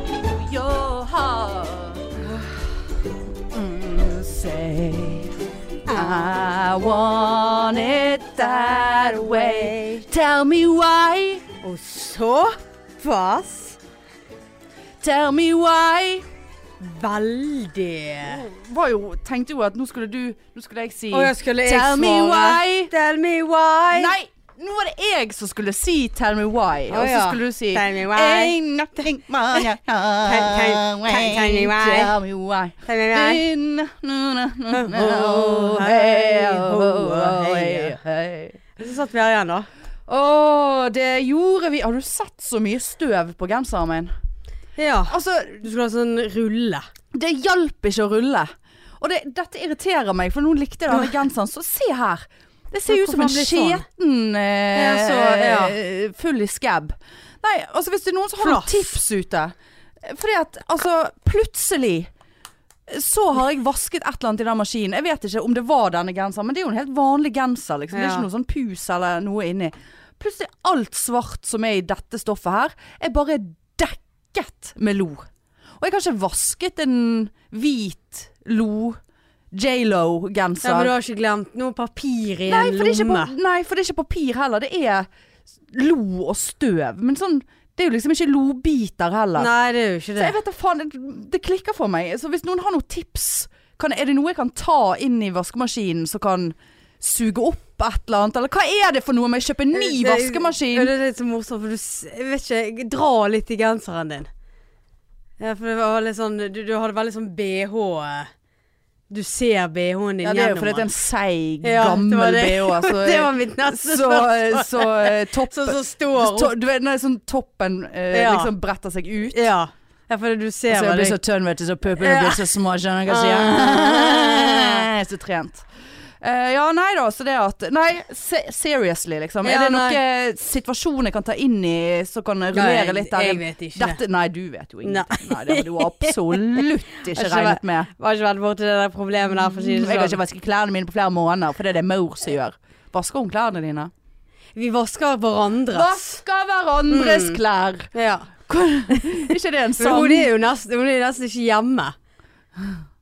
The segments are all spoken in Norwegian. way. Mm, I want it that way. Tell me why. Og såpass Tell me why. veldig Var jo, tenkte jo at nå skulle du Nå skulle jeg si Og jeg skulle jeg Tell me svare. why. Tell me why. Nei! Nå var det jeg som skulle si 'tell me why', Å og så ja. skulle du si Tell me why. Ain't nothing but a highway. tell me why. Tell me why. Tell me why. Din- nu- nu- nu- nu- Oh, hey, hey, oh, oh, hey, hey. hey. Så satt vi her igjen, da. Å, det gjorde vi. Har du sett så mye støv på genseren min? Ja. Altså, Du skulle ha sånn rulle. det hjalp ikke å rulle. Og det, dette irriterer meg, for nå likte jeg denne genseren. Så se her. Det ser Ja, jo ut som en hvorfor han blir sånn? skjeten eh, Ja, så, ja. eh, full i skabb. Nei, altså hvis det er noen som har noen Flass. tips ute eh, Fordi at altså, plutselig eh, så har jeg vasket et eller annet i den maskinen. Jeg vet ikke om det var denne genseren, men det er jo en helt vanlig genser, liksom. Det er Ja. ikke noe sånn pus eller noe inni. Plutselig er alt svart som er i dette stoffet her, er bare dekket med lo. Og jeg har ikke vasket en hvit lo Ja, men du J.Lo-genser. har ikke glemt noe papir i nei, en for det er ikke lomme. pa- nei, for det er ikke papir heller. Det er lo og støv. Men sånn, det er jo liksom ikke lobiter heller. Nei, det er jo ikke Så det. jeg vet da faen, det, det klikker for meg. Så hvis noen har noen tips, kan, er det noe jeg kan ta inn i vaskemaskinen som kan suge opp et eller annet? Eller hva er det for noe med å kjøpe en ny Det er- Ja, vaskemaskin? Det er litt så morsomt, for du s- jeg vet ikke Dra litt i genseren din. Ja, for det var litt sånn Du, du hadde veldig sånn BH Du ser BH-en din Ja, det er jo gjennom fordi det er en seig, Ja, det gammel var det. BH. Så, det var mitt neste så, spørsmål. så, eh, topp, Sånn som står to, opp. du vet, når sånn toppen eh, Ja. liksom bretter seg ut. Ja. ja, for du ser Så Altså, jeg blir veldig så tønn, vet du, så puppene blir så små, skjønner du hva Ah. jeg sier? Så trent. Eh, ja, nei da, så det at Nei, se seriously, liksom. Ja, er det nei. noen situasjon jeg kan ta inn i som kan Nei, rullere litt der? Jeg vet ikke det. Dette, nei, du vet jo ingenting. Nei, det har du absolutt ikke Ikke regnet med. Var ikke vært borti det der problemet der, for å si Jeg det har sånn. ikke vasket klærne mine på flere måneder, for det er det mor som gjør. Vasker hun klærne dine? Vi vasker hverandres. Vasker hverandres klær! Ja. Ikke det en Men Mm. hun sang? er jo nesten, hun er nesten ikke hjemme.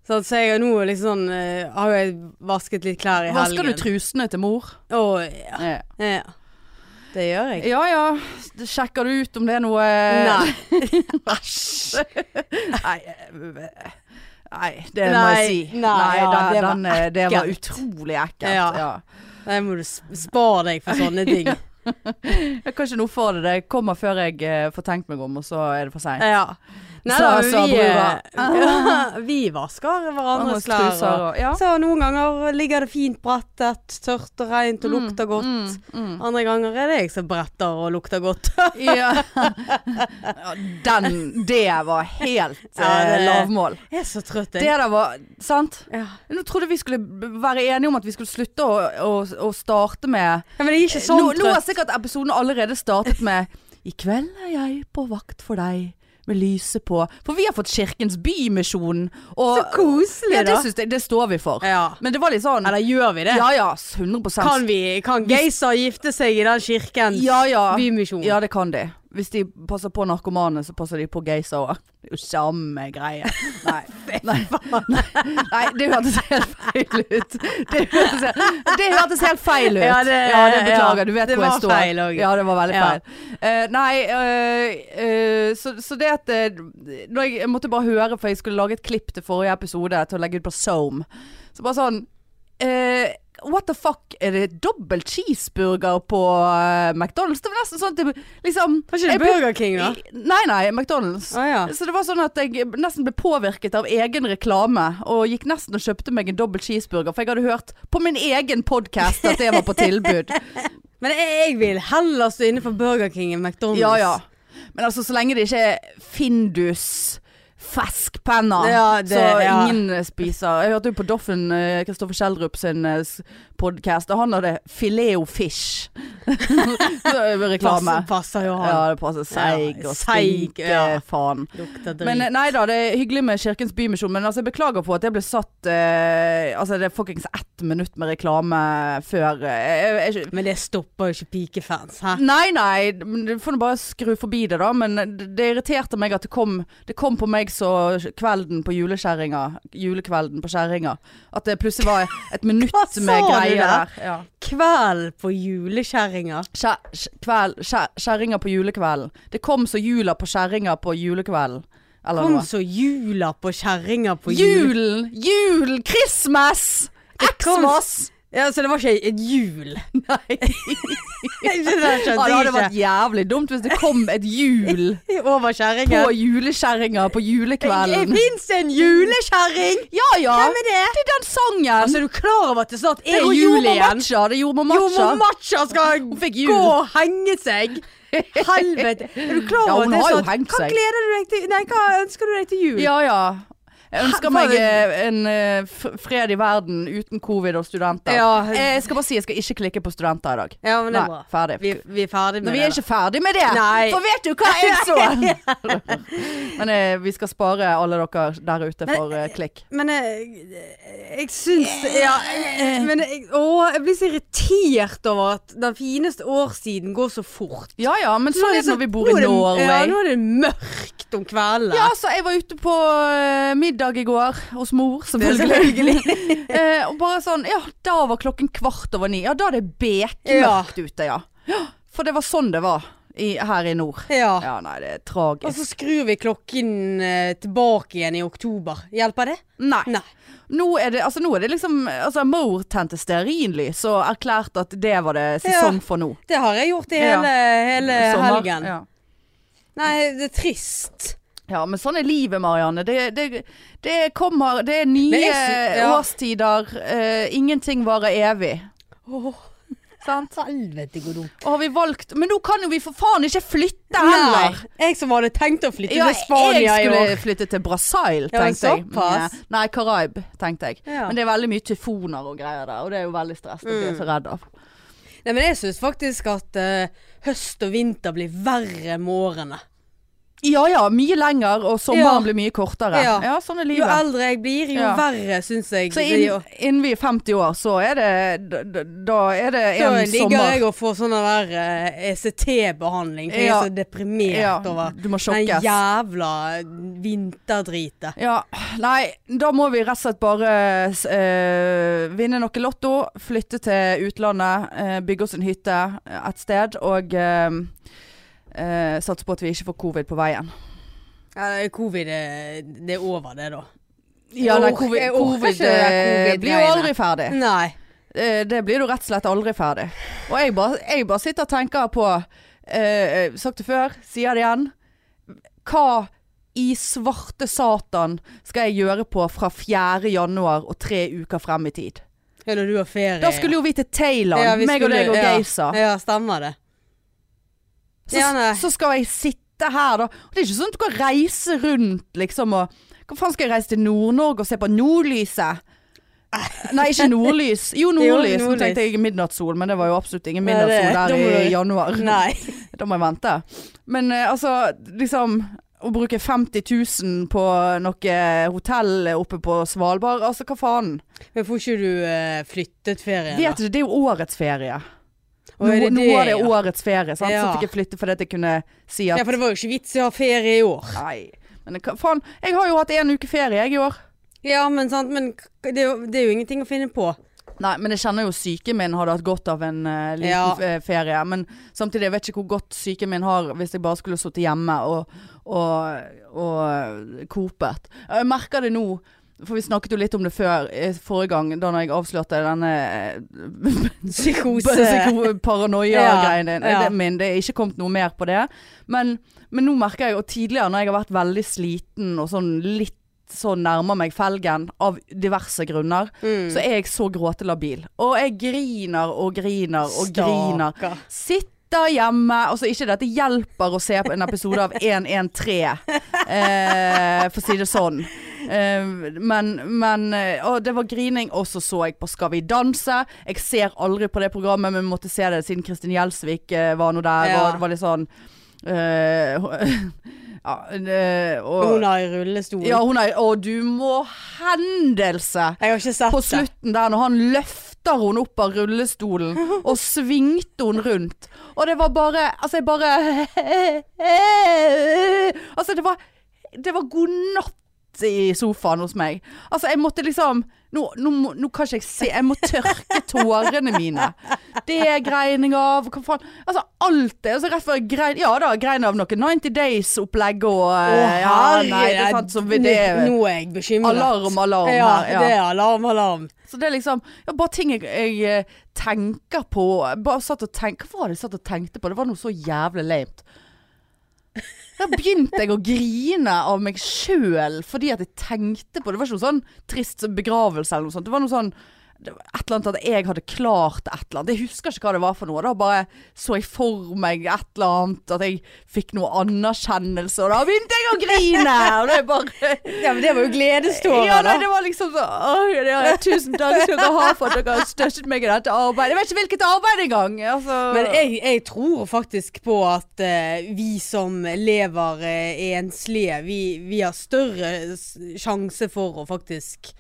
Sånn, så jeg har nå liksom eh, Har jo jeg vasket litt klær i helgen. Vasker du trusene til mor? Å, ja. Ja. ja. Det gjør jeg. Ja ja, Det sjekker du ut om det er noe Eh, Nei. Æsj. Nei, eh, nei, det må Nei, jeg si. nei, ja, det var den, eh, det var ekkelt. utrolig ekkelt. Ja. Ja. Nei, må du sp- spare deg for sånne ting. Jeg kan ikke noe for det. Det kommer før jeg eh, får tenkt meg om, og så er det for seint. Ja. Nei da, Sa- men sa vi, eh, brura. vi vasker Andres hverandres klær. truser Og, og ja. så noen ganger ligger det fint brettet, tørt og rent og lukter godt. Mm, mm. Andre ganger er det jeg som bretter og lukter godt. Ja. Ja, Den Det var helt Ja, eh, det- lavmål. jeg er så trøtt, Det jeg. der var Sant? Ja. Nå trodde vi skulle b- være enige om at vi skulle slutte å, å, å starte med Ja, men jeg er ikke sånn nå, nå har trøtt. sikkert episoden allerede startet med I kveld er jeg på vakt for deg med lyset på. For vi har fått Kirkens Bymisjon. Og, Så koselig, ja, det da. syns jeg det står vi for. Ja. Men det var litt sånn Eller gjør vi det? Ja ja, 100 Kan, vi, kan Geisa gifte seg i den kirkens Ja ja. bymisjon? Ja, det kan de. Hvis de passer på narkomane, så passer de på geisa òg. Det er jo samme greie. Nei. Nei, nei, nei det hørtes helt feil ut. Det hørtes helt, det hørtes helt feil ut. Ja, det- Ja, det beklager. ja, Du vet det hvor jeg var står. feil også. Ja, det var veldig Ja. feil. Eh, nei, eh, eh, så, så det at eh, når jeg, jeg måtte bare høre, for jeg skulle lage et klipp til forrige episode til å legge ut på Zoom. Så bare sånn eh, What the fuck? Er det dobbel cheeseburger på eh, McDonald's? Det var nesten sånn at det liksom Var ikke jeg det ble- Burger King, da? Nei, nei, McDonald's. Å ja. Så det var sånn at jeg nesten ble påvirket av egen reklame, og gikk nesten og kjøpte meg en dobbel cheeseburger, for jeg hadde hørt på min egen podkast at det var på tilbud. Men jeg, jeg vil heller stå inne for Burger King enn McDonald's. Ja ja. Men altså, så lenge det ikke er Findus Feskpenner, Ja, det- så ja. ingen spiser. Jeg hørte jo på Doffen eh, Kristoffer Schjelderup sin podkast, og han hadde filet og fish. Så er det Reklame. Passer, passer jo han. Ja, det passer seig Ja, og seig, stinke ja. faen. Lukter drit. Men eh, nei da, det er hyggelig med Kirkens Bymisjon, men altså, jeg beklager på at jeg ble satt eh, Altså, det er fuckings ett ett minutt med reklame før eh, jeg, jeg, Men det stopper jo ikke pikefans, hæ? Nei, nei, men du får nå bare skru forbi det, da. Men det det irriterte meg at det kom, det kom på meg så kvelden på juleskjæringa. Julekvelden på skjæringa. At det plutselig var et minutt Hva sa med du greier der? der. Ja. Kveld på julekjerringa. Skjæ, skj- kveld, skjæ, skjæringa på julekvelden. Det kom så jula på skjæringa på julekvelden. Eller Kom noe. så jula på kjerringa på jul. Julen! Jul! Christmas! Det kom- Xmas! Ja, så det var ikke et jul? Nei, Ikke det der ja, det hadde skjønte vært jeg jævlig dumt hvis det kom et jul ikke. Over på kjerringa. juleskjæringa på julekvelden. Fins det en julekjerring? Ja ja! Hvem er det? Det er den sangen! Altså, Altså, er du klar over at det snart det er jul igjen? Matcha, det er jordmor matcha. Jomor Matcha skal Hun fikk jul. gå og henge seg. Helvete. Er du klar Ja, over hun at det har er jo sånn? hengt Hva seg. gleder du deg til? Nei, hva ønsker du deg til jul? Ja ja. Jeg ønsker Hæ, meg hva- eh, en eh, f- fred i verden uten covid og studenter. Ja. Eh, Jeg skal bare si jeg skal ikke klikke på studenter i dag. Ja, men det er Nei, bra. ferdig. Vi, vi er ferdig med Men vi er det. ikke ferdig med det! Nei. For vet du hva jeg så? Men eh, vi skal spare alle dere der ute for eh, klikk. da. Men jeg, jeg syns Ja, eh, men jeg, å, jeg blir så irritert over at den fineste årstiden går så fort. Ja ja, men Nå sånn er er det det når vi bor i nå er det- Ja, Norway. nå er det mørkt om kvelden. Ja, så jeg var ute på eh, middag i går hos mor, selvfølgelig. eh, og bare sånn Ja, da var klokken kvart over ni. Ja, da er det bekmørkt ute, ja. ja. For det var sånn det var i, her i nord. Ja. Ja, nei, det er Og tragisk. så skrur vi klokken eh, tilbake igjen i oktober. Hjelper det? Nei. Nei. Nå er det, altså, nå er det liksom Altså, mor tente stearinlys og erklærte at det var det sesong for nå. Det har jeg gjort i Ja. hele, hele Sommer. Eh, helgen. Ja. Nei, det er trist. ja, men sånn er livet, Marianne. Det, det, det kommer Det er nye Men jeg sy- ja. årstider. Eh, ingenting varer evig. Åh, Sant? helvete går dumt. Og har vi valgt Men nå kan jo vi for faen ikke flytte Nei, heller! jeg som hadde tenkt å flytte Ja, til Spania jeg i år. skulle flytte til Brasil, Ja, men tenkte jeg. såpass. Mm, Nei, Karaib, tenkte jeg. Ja. Mm. Men det er veldig mye tyfoner og greier der, og det er jo veldig stress. Det blir jeg så redd av. Nei, men jeg syns faktisk at eh, høst og vinter blir verre med årene. Ja ja, mye lenger, og sommeren Ja. blir mye kortere. Ja, Ja. sånn er Jo livet. eldre jeg blir, jo Ja. verre syns jeg. Så det inn- gjør. innen vi er 50 år, så er det Da, da- da er det da en ligger sommer. jeg og får sånn der eh, ECT-behandling, for jeg Ja. er så deprimert Ja, over du må den sjokkes. jævla vinterdritet. Ja, nei, da må vi rett og slett bare eh, vinne noe lotto, flytte til utlandet, eh, bygge oss en hytte eh, et sted, og eh, eh, satse på at vi ikke får covid på veien. Ja, det er Covid eh, det er over, det, da. Ja, Jeg nei, orker- covid, jeg orker ikke covid, det der eh, covid-greiene. blir jo aldri ferdig. Nei. Eh, det blir du rett og slett aldri ferdig. Og jeg bare, jeg bare sitter og tenker på eh, Sagt det før, sier det igjen. Hva i svarte satan skal jeg gjøre på fra 4. januar og tre uker frem i tid? Ja, når du har ferie. Da skulle jo vi til Thailand, Ja, vi meg og skulle- deg og ja. Geisa. Ja, stemmer det. Så, Ja, nei. så skal jeg sitte her, da. Og det er ikke sånn at du kan reise rundt, liksom, og Hva faen skal jeg reise til Nord-Norge og se på nordlyset? Nei, ikke nordlys. Jo, nordlys. Nå nordlys. tenkte jeg midnattssol, men det var jo absolutt ingen Nei, det- midnattssol da må der i du- januar. Nei. Da må jeg vente. Men eh, altså, liksom Å bruke 50 000 på noe hotell oppe på Svalbard, altså hva faen? Men får ikke du eh, flyttet ferien, da? Vet du, det er jo årets ferie. Å, Nå, er det nå det, var det ja? årets ferie, sant? så Ja. fikk jeg flytte fordi at jeg kunne si Ja, at for det var jo ikke vits i å ha ferie i år. Nei. Men hva faen, jeg har jo hatt én uke ferie jeg i år. Ja, men sant, men k- det er jo, det er jo ingenting å finne på. Nei, men jeg kjenner jo psyken min hadde hatt godt av en eh, liten Ja. f- eh, ferie. Men samtidig, jeg vet ikke hvor godt psyken min har hvis jeg bare skulle sittet hjemme og, og, og kopet. Jeg merker det nå. For vi snakket jo litt om det før, eh, forrige gang, da når jeg avslørte denne eh, Psykose. paranoia-greien din. Ja, ja. Det, min, det er ikke kommet noe mer på det. Men, men nå merker jeg, og tidligere når jeg har vært veldig sliten og sånn litt sånn nærmer meg felgen av diverse grunner, Mm. så er jeg så gråtelabil. Og jeg griner og griner og griner. Stakkar. Sitter hjemme Altså, ikke dette hjelper å se på en episode av 113, eh, for å si det sånn. Eh, men men eh, og det var grining, og så så jeg på Skal vi danse. Jeg ser aldri på det programmet, men måtte se det siden Kristin Gjelsvik eh, var nå der, Ja. og det var litt sånn eh, Ja, eh, og, Hun er i rullestol. ja, hun er Og du må hendelse! Jeg har ikke sett På det. slutten der, når han løfta hun opp av rullestolen og svingte hun rundt. Og det var bare Altså, jeg bare Altså, det var Det var god natt i sofaen hos meg. Altså, jeg måtte liksom Nå, nå, må- nå kan ikke jeg se Jeg må tørke tårene mine. Det grein jeg av. Hva faen Altså, alt det. Altså, rett før jeg grein Ja da, grein av noe 90 Days-opplegg og Å, eh, Ja, nei, det er sant som vi det herregud, Nå er jeg bekymret. Alarm, alarm ja, her. Ja. det er alarm, alarm. Så det er liksom ja, Bare ting jeg, jeg eh, tenker på Jeg Bare satt og tenk, Hva var det jeg satt og tenkte på? Det var noe så jævlig lame. Da begynte jeg å grine av meg sjøl fordi at jeg tenkte på det. Det var ikke noe sånn trist begravelse eller noe sånt. Det var noe sånn det var et eller annet at jeg hadde klart et eller annet. Jeg husker ikke hva det var for noe. Da bare så jeg for meg et eller annet, at jeg fikk noe anerkjennelse, og da begynte jeg å grine! Og det er bare Ja, men det var jo gledestårer, ja, nei, da. det var liksom så «Åh, ja, Tusen takk skal dere ha for at dere har støttet meg i dette arbeidet. Jeg vet ikke hvilket arbeid engang. Altså. Men jeg, jeg tror faktisk på at eh, vi som lever eh, enslige, vi, vi har større s- sjanse for å faktisk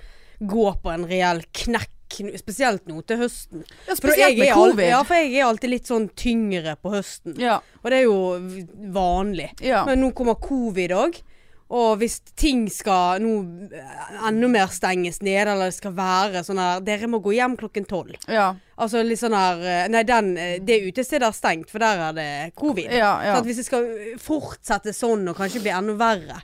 gå på en reell knekk, n- spesielt nå til høsten. ja, For spesielt jeg med er al- covid. Ja, for jeg er alltid litt sånn tyngre på høsten. Ja, Og det er jo v- vanlig. ja. Men nå kommer covid òg. Og hvis ting skal nå eh, enda mer stenges ned, eller det skal være sånn her Dere må gå hjem klokken tolv. ja, Altså litt sånn her eh, Nei, den, eh, det utestedet er stengt, for der er det covid. ja, ja. Så at hvis det skal eh, fortsette sånn, og kanskje bli enda verre,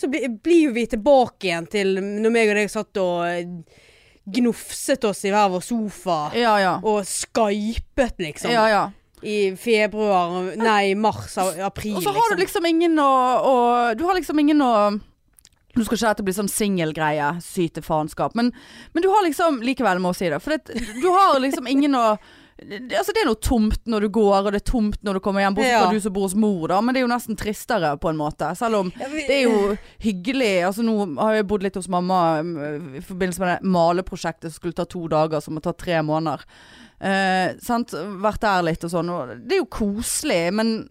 så bli, blir jo vi tilbake igjen til når meg og deg satt og eh, gnufset oss i hver vår sofa. Ja, ja. Og skypet, liksom. Ja, ja. I februar og- Nei, mars og april, Og så har du liksom ingen å, å Du har liksom ingen å nå skal ikke dette bli sånn singelgreie, syte faenskap, men, men du har liksom Likevel må jeg si det, for det, du har liksom ingen å Altså det er noe tomt når du går, og det er tomt når du kommer hjem, bortsett Ja. fra du som bor hos mor, da, men det er jo nesten tristere på en måte. Selv om Ja, vi- liksom- det er jo hyggelig. Altså nå har jeg bodd litt hos mamma mm, i forbindelse med det maleprosjektet som skulle ta to dager, som må ta tre måneder. Eh, sant? Vært der litt og sånn. Og det er jo koselig, men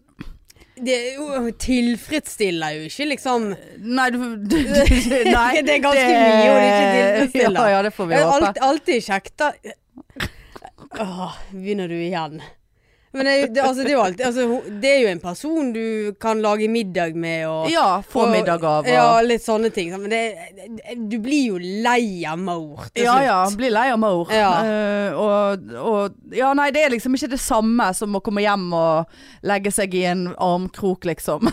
Det er jo- tilfredsstiller jo ikke, liksom. Nei, du, du, du nei, Det er ganske mye, og det er ikke tilfredsstillende. Ja, ja, det får vi Det er håpe. alt, alltid kjekt, da. Åh, begynner du igjen. Men det, er jo- det, altså, det, er jo alltid, altså, ho- det er jo en person du kan lage middag med og Ja, få og- middag av og Ja, litt sånne ting. sant, Men det, du blir jo lei av mor til Ja slutt. ja, bli lei av mor. Ja. Eh, og, og Ja, nei, det er liksom ikke det samme som å komme hjem og legge seg i en armkrok, liksom.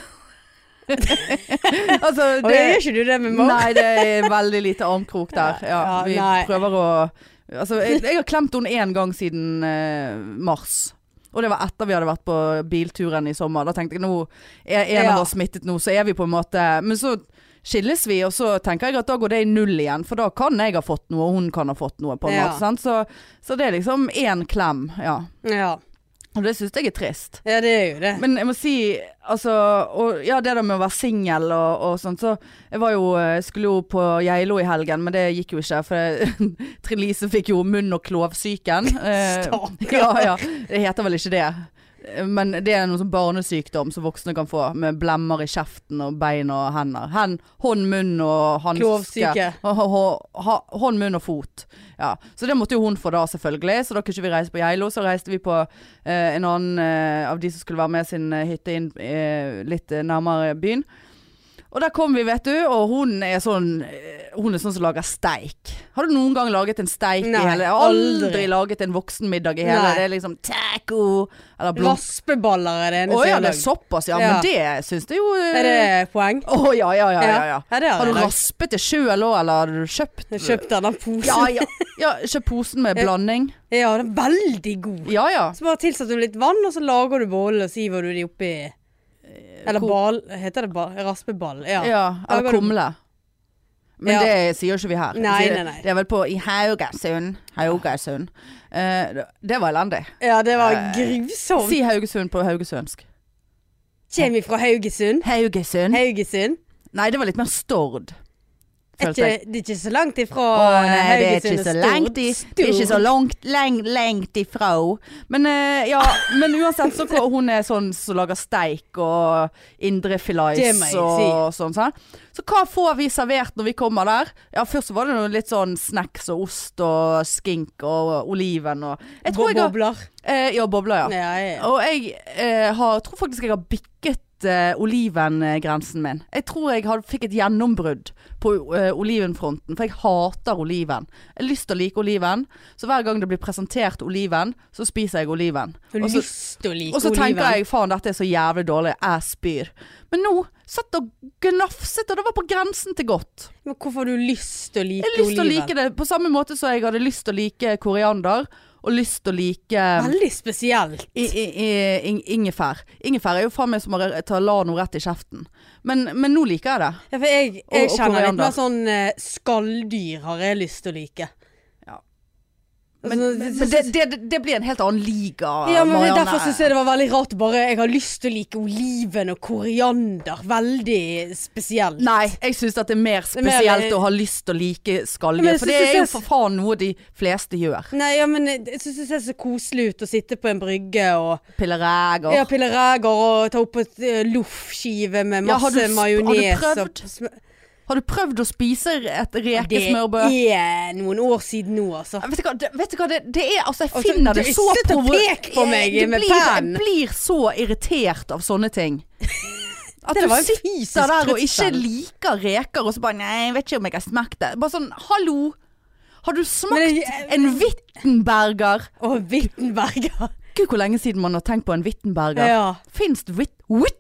altså, Og gjør ikke du det med mor? Nei, det er veldig lite armkrok der. Ja, Ja, vi nei. prøver å Altså, jeg, jeg har klemt henne én gang siden eh, mars. Og det var etter vi hadde vært på bilturen i sommer. Da tenkte jeg nå er en Ja. av oss smittet nå, så er vi på en måte Men så skilles vi, og så tenker jeg at da går det i null igjen. For da kan jeg ha fått noe, og hun kan ha fått noe, på en Ja. måte. Sant? Så, så det er liksom én klem, ja. Ja. Og det syns jeg er trist. ja, det er jo det. Men jeg må si, altså og, Ja, det der med å være singel og, og sånt, så Jeg var jo, eh, skulle jo på Geilo i helgen, men det gikk jo ikke. For jeg- Trine Lise fikk jo munn- og klovsyken. Eh, Stakkar. ja, ja. Det heter vel ikke det. Eh, Men det er noe sånn barnesykdom som voksne kan få, med blemmer i kjeften og bein og hender. Hen, hånd, munn og hanske. Klovsyke. Ha- ha- ha- Hånd, munn og fot. Ja. Så det måtte jo hun få da, selvfølgelig. Så da kunne ikke vi reise på Geilo. Så reiste vi på eh, en annen eh, av de som skulle være med sin eh, hytte inn eh, litt eh, nærmere byen. Og der kom vi, vet du, og hun er sånn eh, Hun er sånn som lager steik. Har du noen gang laget en steik Nei, i hele Jeg har aldri, aldri. laget en voksenmiddag i hele Nei. Det er liksom taco eller blom... Raspeballer er det Å eneste ja, jeg har det er lagd. såpass, ja. Ja. Men det syns det jo eh, Er det poeng? Å ja, ja, ja, ja, ja. det Har har jeg du lagd. raspet det sjøl òg, eller har du kjøpt Jeg kjøpte den posen. Ja, Ja, ja. ja kjøp posen med blanding. den er veldig god. Ja ja. Så bare tilsetter du litt vann, og så lager du bollene, og så hiver du de oppi Eller Eh, ko- ball Heter det ball? Raspeball? Ja. ja Lager eller du- kumle. Men Ja. det sier ikke vi her. Nei, Vi sier- nei, nei. Det er vel på i Haugesund. Haugesund. Eh, det- det var elendig. Ja, det var Eh, grusomt. Si Haugesund på haugesundsk. Kjem ifra Haugesund. Haugesund. Haugesund. Nei, det var litt mer Stord. Er følte jeg. ikke- Det er ikke så langt ifra Å nei, det er Haugesund ikke og så Stord. langt, i, det er ikke så Stord. langt, lengt, lengt ifra. Men, eh, ja, men uansett, så hvor hun er sånn som lager steik og Det indrefilets må jeg og sånn. sånn. Så hva får vi servert når vi kommer der? Ja, Først så var det noe litt sånn snacks og ost og skink og oliven og jeg tror jeg har, Bobler. eh, Ja, bobler, ja. Ja, ja. Og jeg eh, har, tror faktisk jeg har bikket eh, olivengrensen min. Jeg tror jeg har, fikk et gjennombrudd på eh, olivenfronten, for jeg hater oliven. Jeg har lyst til å like oliven, så hver gang det blir presentert oliven, så spiser jeg oliven. Du har Og så- lyst til å like og så tenker oliven. jeg faen dette er så jævlig dårlig, jeg spyr. Men nå satt og gnafset, og det var på grensen til godt. Men hvorfor har du lyst til å like Jeg har lyst til å oliven? like det på samme måte som jeg hadde lyst til å like koriander, og lyst til å like Veldig spesielt. I, i, i, ing- ingefær. Ingefær er jo faen meg som å re- ta Lano rett i kjeften. Men, men nå liker jeg det. Ja, for jeg, Og- jeg og kjenner litt koriander. mer sånn eh, skalldyr har jeg lyst til å like. Altså, Ja. Men, Men, men, men det, det, det blir en helt annen liga, ja, men Marianne. Derfor syns jeg det var veldig rart. Bare jeg har lyst til å like oliven og koriander. Veldig spesielt. Nei, jeg syns at det er mer er mer- spesielt å ha lyst til å like Men skalldyr. jeg For synes det det er jo ses- for faen noe de fleste gjør. Nei, ja, men jeg jeg syns det ser så koselig ut å sitte på en brygge og Pilleræger. ja, pille reker og ta opp et eh, loffskive med Ja, har du masse sp- majones. har du og- Har du prøvd å spise et Det rekesmørbrød? er noen år siden nå, altså. Vet du hva, det, vet du hva det, det er Altså, jeg Altså, finner du- det så slutt å provo- peke på meg Jeg- det med blir- pennen. Jeg blir så irritert av sånne ting. At Det du var en fysisk sitter der og ikke trussel. liker reker, og så bare Nei, jeg vet ikke om jeg har smakt det. Bare sånn, hallo. Har du smakt Men jeg- en Wittenberger? Og Wittenberger. Gud, hvor lenge siden man har tenkt på en Wittenberger. Ja. Fins det Wit... Wit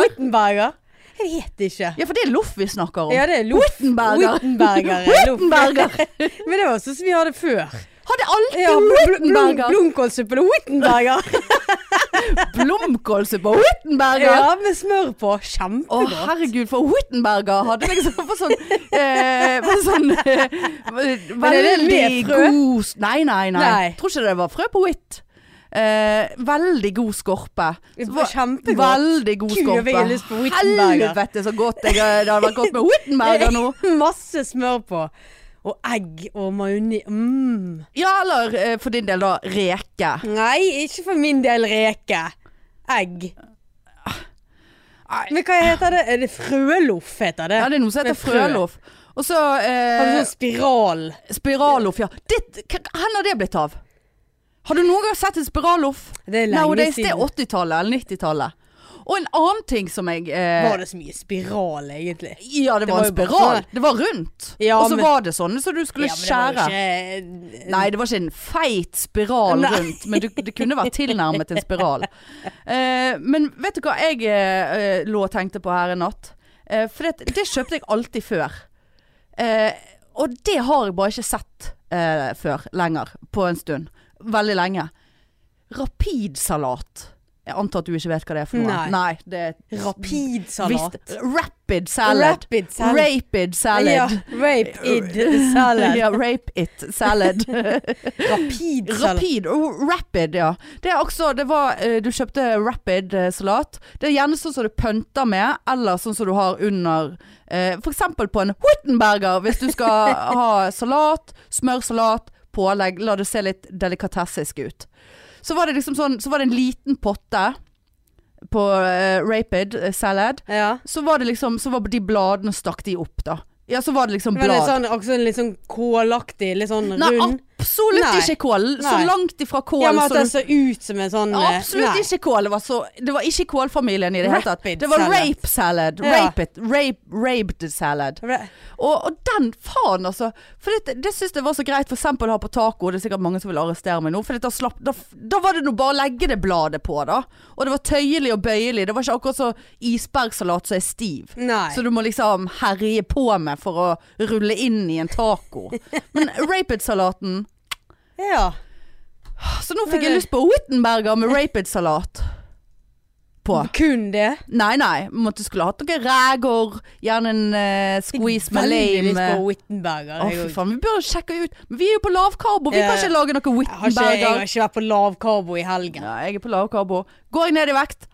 Wittenberger? Wittenberger. Jeg vet ikke. Ja, for det er loff vi snakker om. Ja, det er loff. Wittenberger. Wittenberger. er loff. Wittenberger. Men det var sånn som vi hadde før. Hadde alltid Ja, bl- bl- blom- Wittenberger. Blomkålsuppe og Wittenberger. Blomkålsuppe og Wittenberger. Ja, med smør på. Å Kjempegodt. herregud, for Wittenberger hadde meg så for sånn, eh, for sånn eh, er det Veldig med frø? god s- Nei, nei, nei. Nei. Tror ikke det var frø på Witt. Eh, veldig god skorpe. Det Så var var- kjempegodt. Veldig god Gud, jeg skorpe. fikk lyst på Wittenberger. Helvete så godt jeg, eh, det hadde vært godt med Wittenberger nå. Masse smør på. Og egg og majones. Mm. Ja, eller eh, for din del, da, reke. Nei, ikke for min del reke. Egg. Nei. Men hva heter det? Er det frøloff heter det? Ja, det er noe som heter Med frø. frøloff. Og så Har eh, du sånn spiral? spiralloff, ja. Det, hva- hvor har det blitt av? Har du noen gang sett en spiralloff? Det er lenge Nowadays, det siden. er 80-tallet eller 90-tallet. Og en annen ting som jeg eh, Var det så mye spiral, egentlig? Ja, det, det var var en jo bare spiral. sånn- Det var rundt. Ja, og så men- var det sånne som du skulle skjære. ikke Nei, det var ikke en feit spiral Nei. rundt, men du, det kunne vært tilnærmet en spiral. Eh, men vet du hva jeg eh, lå og tenkte på her en natt? Eh, for det, det kjøpte jeg alltid før. Eh, og det har jeg bare ikke sett eh, før lenger, på en stund. Veldig lenge. Rapidsalat. Jeg antar at du ikke vet hva det er for noe. Nei. det er eh, et Rapidsalat. visst- Rapid salad. Rapid salad. Rapid salad. Ja, rapid salad. Ja, rape it salad. Rapid salad. Rapid, oh, rapid, ja. Det er også, det var, eh, du kjøpte rapid eh, salat. Det er gjerne sånn som du pønter med, eller sånn som du har under eh, For eksempel på en Wittenberger, hvis du skal ha salat, smørsalat, pålegg. La det se litt delikatessisk ut. Så var det liksom sånn, så var det en liten potte på eh, rapid eh, salad. Ja. Så var det liksom, så var de bladene stakk de opp, da. Ja, så var det liksom Men blad. det er sånn, også litt sånn kålaktig, litt sånn Nei, rund. absolutt Nei. ikke kål. Så Nei. langt ifra kål Ja, men at som det du ser ut som en sånn eh, Absolutt nei. ikke kål. Det var, så, det var ikke kålfamilien i det hele tatt. Rapid Det var salad. rape salad. Ja. Rape it. Rape, raped salad. Ra- Og, og den faen, altså. For det, det syns jeg var så greit for eksempel å ha på taco. Det er sikkert mange som vil arrestere meg nå. For da, slapp, da, da var det nå bare å legge det bladet på, da. Og det var tøyelig og bøyelig. Det var ikke akkurat så isbergsalat som er stiv. Nei. Så du må liksom herje på med for å rulle inn i en taco. Men rapid-salaten Ja. Så nå fikk Nei, jeg nei. lyst på Wittenberger med rapid-salat. På. Kun det. Nei, nei. Måtte skulle hatt noen reker. Gjerne en eh, squeeze med Veldig lyst lame. eh? på Wittenberger. Å, jeg fy også. faen. Vi bør sjekke ut. Men vi er jo på lavkarbo. Vi Ja, kan ikke lage noe Jeg har, ikke, jeg har Wittenberger. ikke vært på lav karbo i helgen. Ja, jeg er på lavkarbo. Går jeg ned i vekt?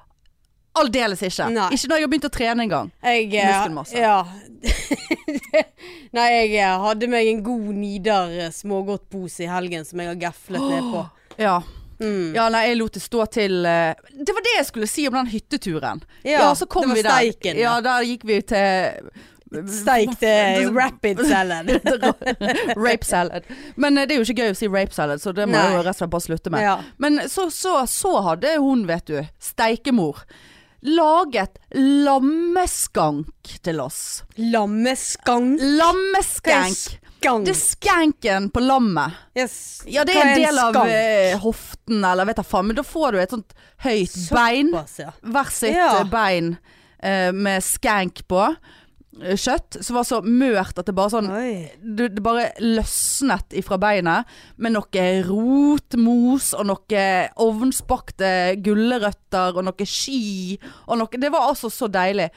Aldeles ikke. Nei. Ikke når jeg har begynt å trene engang. Jeg, eh, Muskelmasse. Ja. Nei, jeg eh, hadde meg en god Nidar eh, smågodtpose i helgen som jeg har gaflet ned på. Ja. Mm. ja, nei, jeg lot det stå til eh, Det var det jeg skulle si om den hytteturen. Ja, så kom det var vi der. steiken, Ja, ja. der gikk vi til Steikte rapid salad. rape salad. Men eh, det er jo ikke gøy å si rape salad, så det må Nei. jeg jo rett og slett bare slutte med. ja. Men så, så, så hadde hun, vet du, steikemor, laget lammeskank til oss. Lammeskank. Hva er Lammeskank. Skank. Det er skanken på lammet. Yes. Ja, det Hva er en del av skank? eh, hoften, eller vet jeg faen. Men da får du et sånt høyt bein. Såpass, ja. Hver sitt Ja. eh, bein eh, med skank på. eh, Kjøtt som var så mørt at det bare sånn Oi. du, det bare løsnet ifra beinet med noe rotmos og noe ovnsbakte gulrøtter og noe sky og noe Det var altså så deilig.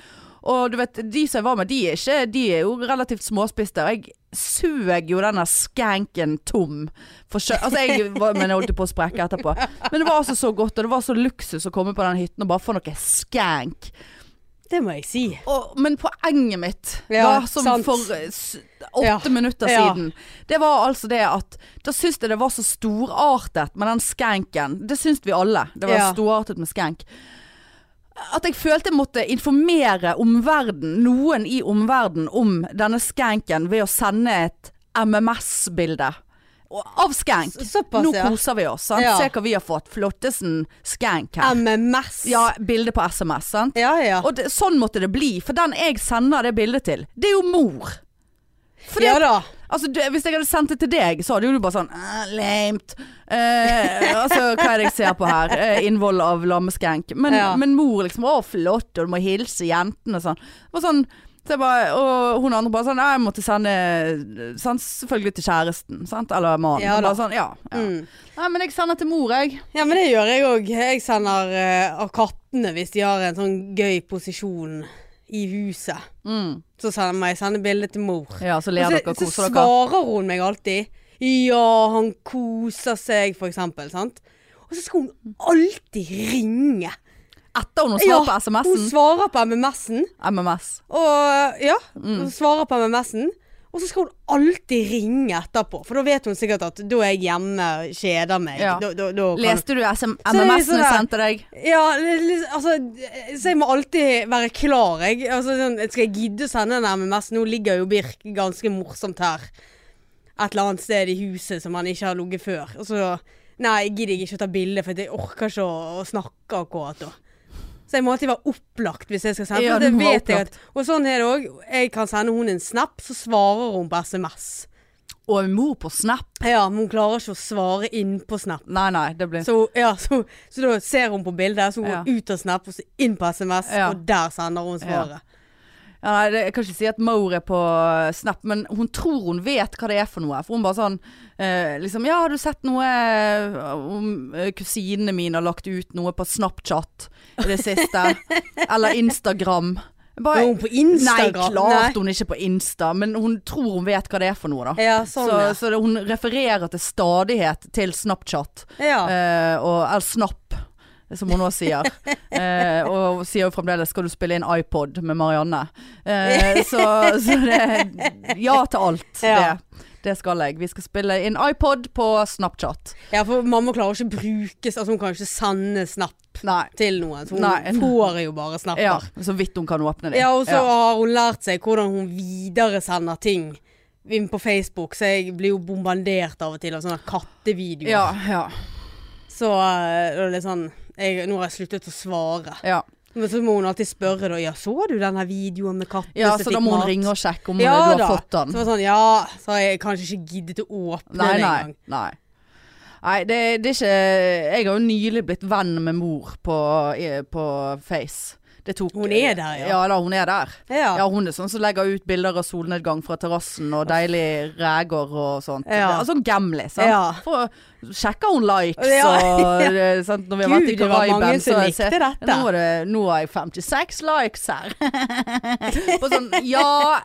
Og du vet, de som jeg var med, de er, ikke, de er jo relativt småspiste. Og jeg søg jo denne skanken tom. For sjø, altså jeg, var- men jeg holdt jo på å sprekke etterpå. Men det var altså så godt, og det var så luksus å komme på den hytten og bare få noe skank. Det må jeg si. Og, men poenget mitt Ja, da, som sant. for eh, s- åtte Ja, minutter ja. siden, det var altså det at Da syns jeg det var så storartet med den skanken. Det syns vi alle. Det var Ja. storartet med skank. At jeg følte jeg måtte informere omverden, noen i omverden om denne skanken ved å sende et MMS-bilde. Av skank. S- såpass, Nå ja. koser vi oss. Sant? Ja. Se hva vi har fått. Flottesen skank her. MMS. ja, bilde på SMS, sant? ja. ja. Og det, sånn måtte det bli, for den jeg sender det bildet til, det er jo mor. Fordi ja at- da. altså, du, hvis jeg hadde sendt det til deg, så hadde jo du bare sånn «Ah, Lamet. Eh, altså, hva er det jeg ser på her? Eh, innvoll av lammeskenk. Men, Ja. men mor liksom Å, flott, og du må hilse jentene og sånn. Det var sånn så jeg bare, og hun andre bare sånn «Ja, Jeg måtte sende sant, selvfølgelig til kjæresten, sant? eller mannen. Ja da. bare sånn, ja, ja. Mm. Nei, men jeg sender til mor, jeg. Ja, men det gjør jeg òg. Jeg sender eh, av kattene hvis de har en sånn gøy posisjon i huset. Mm. Så sender må jeg sende bilde til mor. Ja, så ler Og dere så, og så koser dere. svarer hun meg alltid. Ja, han koser seg, for eksempel. Sant? Og så skal hun alltid ringe. Etter hun har svart på Hun SMS-en. svarer på MMS-en. MMS. Og ja, hun svarer på MMS-en. Og så skal hun alltid ringe etterpå, for da vet hun sikkert at da er jeg hjemme, kjeder meg. Ja. Da, da, da kan... Leste du SM Så det er litt MMS-en jeg sånn der- sendte deg? Ja, li- li- altså Så jeg må alltid være klar, jeg. Altså, sånn, skal jeg gidde å sende en MMS? Nå ligger jo Birk ganske morsomt her. Et eller annet sted i huset som han ikke har ligget før. Og så Nei, jeg gidder ikke å ta bilde, for jeg orker ikke å, å snakke akkurat da. Så jeg må alltid være opplagt hvis jeg skal sende. Ja, for du det må være vet jeg at, og sånn er det òg. Jeg kan sende hun en snap, så svarer hun på SMS. Og en mor på Snap? Ja, men hun klarer ikke å svare inn på snap. Nei, nei, det blir Så, ja, så, så da ser hun på bildet, så går hun Ja. ut av Snap og så inn på SMS, Ja. og der sender hun svaret. ja, nei, det, Jeg kan ikke si at Maur er på eh, Snap, men hun tror hun vet hva det er for noe. For hun bare sånn eh, liksom, Ja, har du sett noe eh, om eh, kusinene mine har lagt ut noe på Snapchat i det siste? Eller Instagram? Jeg Er Bare, hun på nei, Instagram? klart hun ikke er på Insta, men hun tror hun vet hva det er for noe, da. Ja, sånn, Så, så det, hun refererer til stadighet til Snapchat. ja. ja. Eh, og, eller Snapp, som hun nå sier. Eh, og sier jo fremdeles 'skal du spille inn iPod med Marianne'? Eh, så, så det Ja til alt. Ja. Det, det skal jeg. Vi skal spille inn iPod på Snapchat. Ja, for mamma klarer ikke å bruke Altså, hun kan ikke sende Snap Nei. til noen, så hun Nei. får jo bare Snapper. Ja, Ja. så vidt hun kan åpne det. og så Ja. har hun lært seg hvordan hun videresender ting inn på Facebook, så jeg blir jo bombardert av og til av sånne kattevideoer. Ja, ja, Så eh, det er litt sånn jeg, Nå har jeg sluttet å svare. ja. Men så må hun alltid spørre da Ja, så du denne videoen med katten ja som så fikk da må hun mat? ringe og sjekke om ja, du har da. fått den. Så var det sånn, ja, så har jeg kanskje ikke giddet å åpne Nei, det nei. engang. nei. Nei, det, det er ikke Jeg har jo nylig blitt venn med mor på, i- på Face. Det tok, Hun er der, ja. Ja da, hun er der. Ja. Ja, hun er sånn som legger ut bilder av solnedgang fra terrassen og deilig reker og sånt. Ja. Altså gamle, sant. Ja. For, sjekker hun likes Ja. og eh, sant? Når vi har vært i Gud, det var Karaiben, mange som så har jeg likte sett- dette. Nå, er det, nå har jeg 56 likes her. På sånn, ja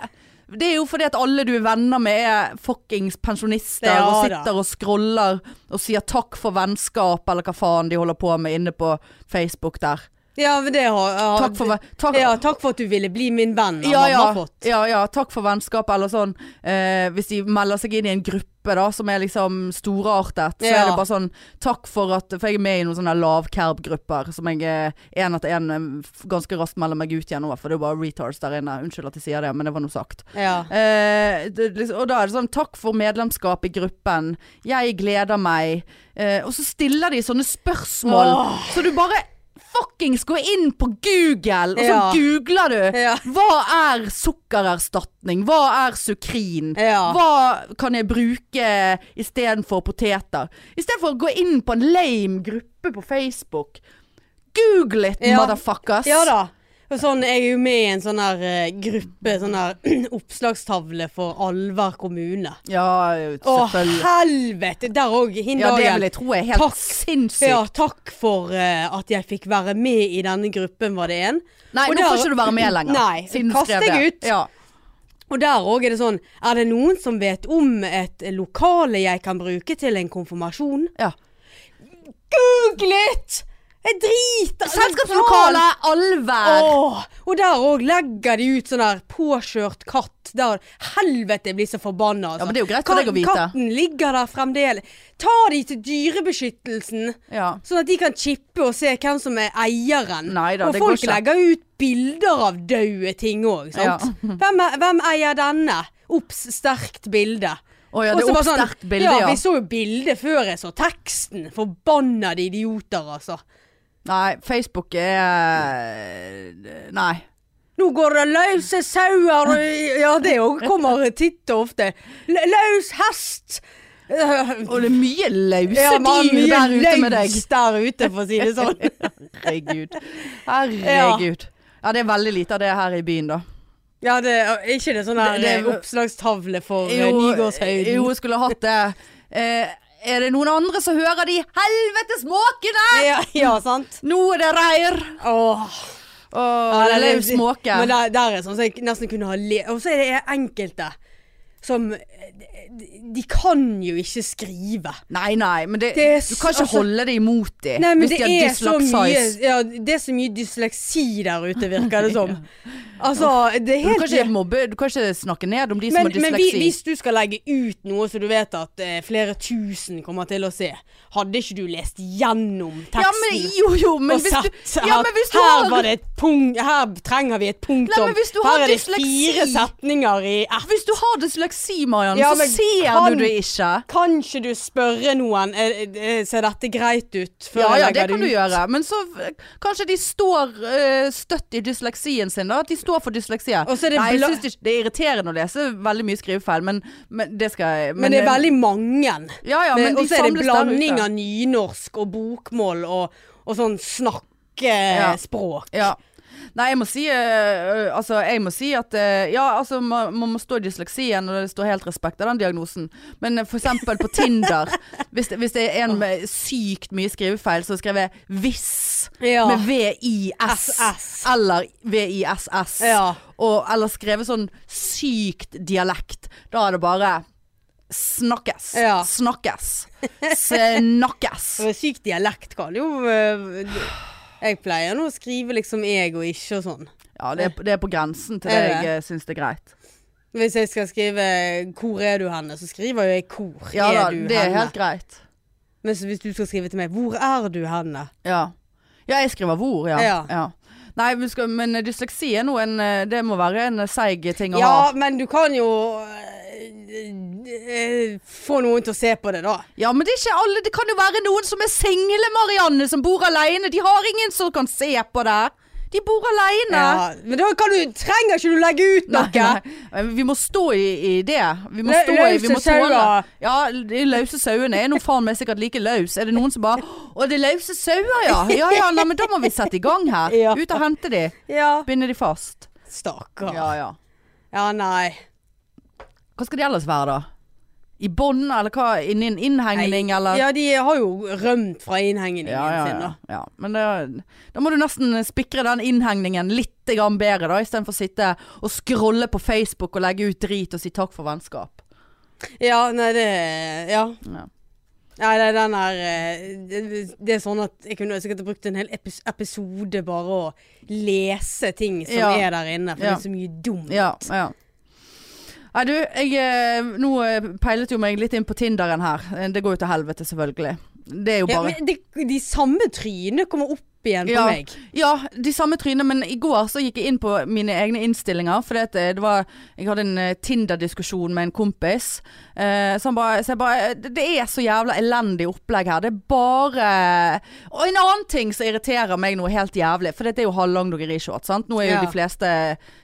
det er jo fordi at alle du er venner med er fuckings pensjonister Ja og da. sitter og scroller og sier takk for vennskap eller hva faen de holder på med inne på Facebook der. Ja, men det har ja, Takk for, ve- takk, ja, takk for at du ville bli min venn. har ja, mamma ja, fått. ja, ja, takk for vennskapet eller sånn. Eh, hvis de melder seg inn i en gruppe da, som er liksom storartet, så Ja. er det bare sånn takk for at For jeg er med i noen sånne lavkerb-grupper som jeg én etter én ganske raskt melder meg ut igjen over, for det er jo bare retards der inne. Unnskyld at jeg sier det, men det var nå sagt. Ja. Eh, det, liksom, og da er det sånn takk for medlemskap i gruppen, jeg gleder meg. Eh, og så stiller de sånne spørsmål, Åh. så du bare fuckings går inn på Google, og så Ja. googler du. Ja. Hva er sukkererstatning? Hva er sukrin? Ja. Hva kan jeg bruke istedenfor poteter? Istedenfor å gå inn på en lame gruppe på Facebook. Google it, Ja. motherfuckers! Ja da. Og sånn, jeg er jo med i en sånn her eh, gruppe, sånn her oppslagstavle for Alver kommune. Ja, Å, selvfølgelig. helvete! Der Ja, òg. det vil Hindagen. jeg tro er helt Takk. sinnssykt. Ja, takk for eh, at jeg fikk være med i denne gruppen, var det en. Nei, Og nå får der- ikke du være med lenger. Nei, siden du kast skrev deg det. ut. Ja. Og der òg er det sånn Er det noen som vet om et lokale jeg kan bruke til en konfirmasjon? Ja. Googlet! Jeg driter Selskapslokale, allvær. Åh, og der òg legger de ut sånn der påkjørt katt. Der helvete jeg blir så forbanna. Ja, Altså. men det er jo greit for deg å Katten- vite. Katten ligger der fremdeles. Ta de til dyrebeskyttelsen, Ja. sånn at de kan chippe og se hvem som er eieren. Neida, og det går folk ikke. legger ut bilder av døde ting òg, sant. Hvem, er, hvem eier denne? Obs, sterkt bilde. Å ja, det Og så er bare sånn, oppsterkt bilde, ja. Vi så jo bildet før jeg så teksten. Forbannede idioter, altså. Nei, Facebook er eh, Nei. Nå går det løse sauer og- Ja, det òg kommer titt og ofte. Lø- Løs hest! Og det er mye løse Ja, man, dyr mye der ute med deg. løs der ute, for å si det sånn. Herregud. Herregud. Ja, det er veldig lite av det her i byen, da. Ja, det, er ikke det sånn der Det- det- eh, oppslagstavle for eh, Nygårdshøyden? Jo, jeg skulle hatt det. Eh, er det noen andre som hører de helvetes måkene? Ja, ja, sant? Nå er det reir! Åh. Å, Ja, det- løs måke. Men der, der er sånn som jeg nesten kunne ha le... Og så er det enkelte som eh, de, de kan jo ikke skrive. Nei, nei, men det, Det er du kan ikke altså- holde det imot dem. Nei, men hvis det de har er, så mye, dyslexis. ja, det er så mye dysleksi der ute, virker det som. Altså, det er Du kan, helt ikke mobbe, du kan ikke snakke ned om de som Men, har men vi, dysleksi. hvis du skal legge ut noe så du vet at eh, flere tusen kommer til å se, hadde ikke du lest gjennom ja, teksten? men, jo, jo, men og hvis sett du, ja, men hvis at du her, har var det et punkt, her trenger vi et Nei, punktum. men hvis du har Her er det dysleksi- fire setninger i F. Hvis du har dysleksi, Marianne, Ja, så men ser kan- du det ikke. Kan ikke du spørre noen eh, eh, Ser dette greit ut? Før Ja, jeg ja, det legger kan ut? du gjøre. Men så eh, kanskje de står eh, støtt i dysleksien sin, da. At de står for dysleksia. Og så er det Nei, jeg bla- synes det, ikke- det er irriterende å lese veldig mye skrivefeil, men, men det skal jeg Men det er veldig mange. Ja, ja, men Men, de og så er det samles der blanding ute. av nynorsk og bokmål og, og sånn snakkespråk. Ja. Nei, jeg må si, eh, eh, altså, jeg må si at eh, Ja, altså, man, man må stå i dysleksien, og det står helt respekt av den diagnosen. Men eh, for eksempel på Tinder, hvis, det- hvis det er en med sykt mye skrivefeil, så skrev jeg 'hvis' Ja. med VIS SS. eller VISS. Ja. Og, eller skrevet sånn sykt dialekt. Da er det bare Snakkes. Ja. Snakkes. Snakkes. Og Syk dialekt kan jo øh, Jeg pleier nå å skrive liksom jeg og ikke og sånn. Ja, det er, det er på grensen til Er det det? jeg eh, syns det er greit. Hvis jeg skal skrive 'Hvor er du henne?', så skriver jo jeg 'Hvor Ja er da, du det er henne?' helt greit. Mens hvis du skal skrive til meg 'Hvor er du henne?' Ja. ja, jeg skriver hvor, ja. Ja. Nei, vi skal, men dysleksi er nå en eh, Det må være en eh, seig ting å Ja, ha. men du kan jo øh, øh, få noen til å se på det, da. Ja, men det er ikke alle. Det kan jo være noen som er single, Marianne, som bor aleine. De har ingen som kan se på det. De bor aleine. Ja, men da kan du, trenger ikke du legge ut noe! Nei, nei. Vi må stå i, i det. Vi må Lø- stå i, vi må løse sauer. tåle. Ja, de løse sauene er nå faen meg sikkert like løs. Er det noen som bare Å, det er løse sauer, ja. Ja ja, nei, men da må vi sette i gang her. Ja. Ut og hente de. Ja. Binde de fast. Stakkar. Ja. Ja ja. nei. Hva skal de ellers være da? I bånd, eller hva? Inni en innhegning, eller? Ja, de har jo rømt fra innhengningen ja, ja, sin, ja. da. ja. Men det, da må du nesten spikre den innhengningen litt grann bedre, da. Istedenfor å sitte og scrolle på Facebook og legge ut drit og si takk for vennskap. Ja, nei, det Ja. Ja. Nei, nei, den er eh, det, det er sånn at jeg kunne sikkert brukt en hel epis- episode bare å lese ting som Ja. er der inne, for Ja. det er så mye dumt. Ja, ja. Nei, du, jeg eh, Nå eh, peilet jo meg litt inn på Tinderen her. Eh, Det går jo til helvete, selvfølgelig. Det er jo Ja, bare men det, de samme trynene kommer opp igjen på Ja. meg. Ja, de samme trynene, men i går så gikk jeg inn på mine egne innstillinger. For det var Jeg hadde en eh, Tinder-diskusjon med en kompis. Eh, så han bare, så jeg bare eh, Det er så jævla elendig opplegg her. Det er bare Og en annen ting som irriterer meg noe helt jævlig. For dette er jo halvlang dongerishort, sant. Nå er jo Ja. de fleste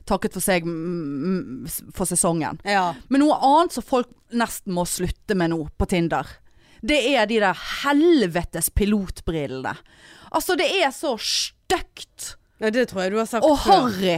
takket for seg mm, mm, for sesongen. Ja. Men noe annet som folk nesten må slutte med nå på Tinder, det er de der helvetes pilotbrillene. Altså, det er så stygt ja, det tror jeg du har sagt og før. harry.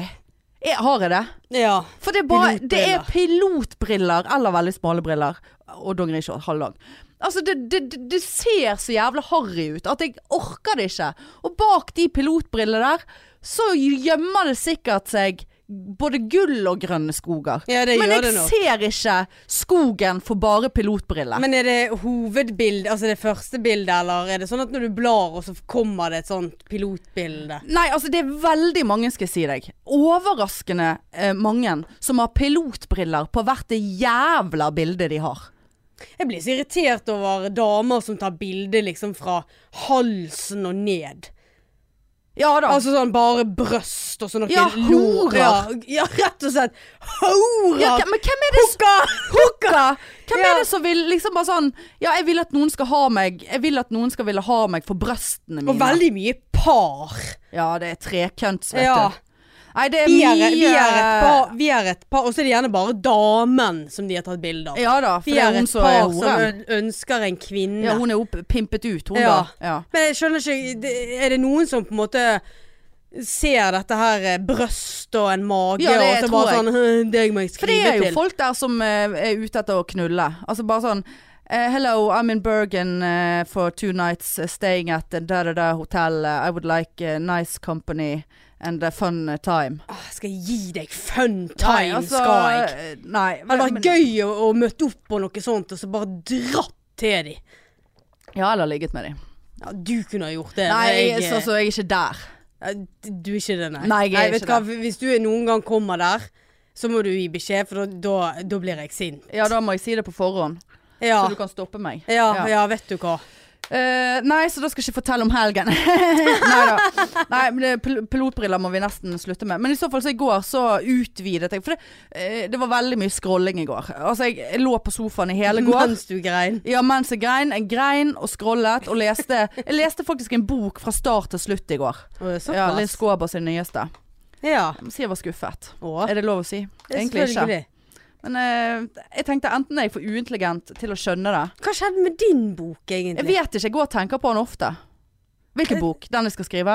Er- Har jeg det? Ja. For det er, bare, Pilotbriller. det er pilotbriller eller veldig smale briller. Og dongerishort halvlang. Altså, det, det, det- det ser så jævla harry ut at jeg orker det ikke. Og bak de pilotbrillene der, så gjemmer det sikkert seg både gull og grønne skoger. ja, det Men gjør jeg det nok. ser ikke skogen for bare pilotbriller. Men er det hovedbildet, altså det første bildet, eller er det sånn at når du blar, og så kommer det et sånt pilotbilde? Nei, altså det er veldig mange, skal jeg si deg. Overraskende eh, mange som har pilotbriller på hvert det jævla bildet de har. Jeg blir så irritert over damer som tar bilder liksom fra halsen og ned. Ja da. Altså sånn bare brøst og sånn noen Ja, lår. horer. Ja, ja, rett og slett. Horer! ja, hvem- men hvem er det som Hooka! Hvem Ja. er det som vil liksom bare sånn Ja, jeg vil at noen skal ha meg Jeg vil at noen skal ville ha meg for brøstene mine. Og veldig mye par. Ja, det er trekønts, vet Ja. du. Nei, det er Vi er, mye vi er et par, vi er et par. Og så er det gjerne bare damen som de har tatt bilde av. Ja da, for Vi det er er hun et som er par som horen. ø- ønsker en kvinne. Ja, hun er opp, pimpet ut, hun Ja. da. Ja. Men jeg skjønner ikke det- Er det noen som på en måte ser dette her eh, brøst og en mage, Ja, det og så tror bare jeg. sånn «Hm, Deg må jeg For det skrive er jo til. folk der som eh, er ute etter å knulle. Altså bare sånn eh, Hello, I'm in Bergen eh, for two nights eh, staying at the da da da hotel. Eh, I would like eh, nice company and a fun eh, time. Åh, skal jeg gi deg fun time, Nei, altså, skal jeg? eh, Nei. Det hadde men- vært gøy å, å møte opp på noe sånt, og så bare dratt til de. Ja, eller ligget med dem. Ja, du kunne ha gjort det. Nei, men jeg, så, så jeg er ikke der. eh, Du er ikke det, nei. Nei, jeg er vet ikke du hva, Hvis du noen gang kommer der, så må du gi beskjed, for da- da da blir jeg sint. Ja, da må jeg si det på forhånd, Ja, så du kan stoppe meg. ja, Ja. ja, vet du hva. Ah. Eh, nei, så da skal jeg ikke fortelle om helgen. nei da. Nei, men det- pil- pilotbriller må vi nesten slutte med. Men i så fall så i går så utvidet jeg. For det, eh, det var veldig mye scrolling i går. Altså jeg, jeg lå på sofaen i hele går. Mens du grein. Ja, mens jeg grein. Jeg grein og scrollet og leste. Jeg leste faktisk en bok fra start til slutt i går. Å, Ja, Linn Såpass. Skåber sin nyeste. Ja. Jeg må si jeg var skuffet. Å, Er det lov å si? Egentlig ikke. selvfølgelig. Men eh, jeg tenkte enten er jeg for uintelligent til å skjønne det. Hva skjedde med din bok, Jeg egentlig? vet ikke. Jeg går og tenker på den ofte. Hvilken bok? Den jeg skal skrive?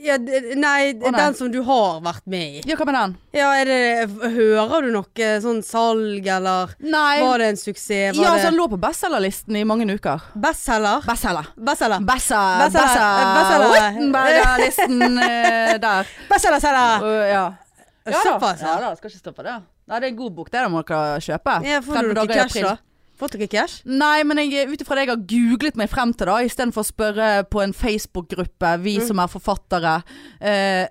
Ja, d- nei, Å, nei. den som du har vært med i. Ja, hva med den? Ja, er det, Hører du noe sånn salg, eller Nei. Var det en suksess? Var ja, det altså, han lå på bestselgerlisten i mange uker. bestselger? Bestselger. Bestselger. Bessa, Bestselger, eh, bestselger. Wittenberger-listen eh, der. Bestselgerselger! Uh, ja. Såpass, ja ja. da, skal ikke stoppe det. Nei, det er en god bok, det der må dere kjøpe. Ja, får 30 du noe dager i cash, april. da? Fått dere cash? Nei, men jeg- ut ifra det jeg har googlet meg frem til, da, istedenfor å spørre på en Facebook-gruppe, vi Mm. som er forfattere eh,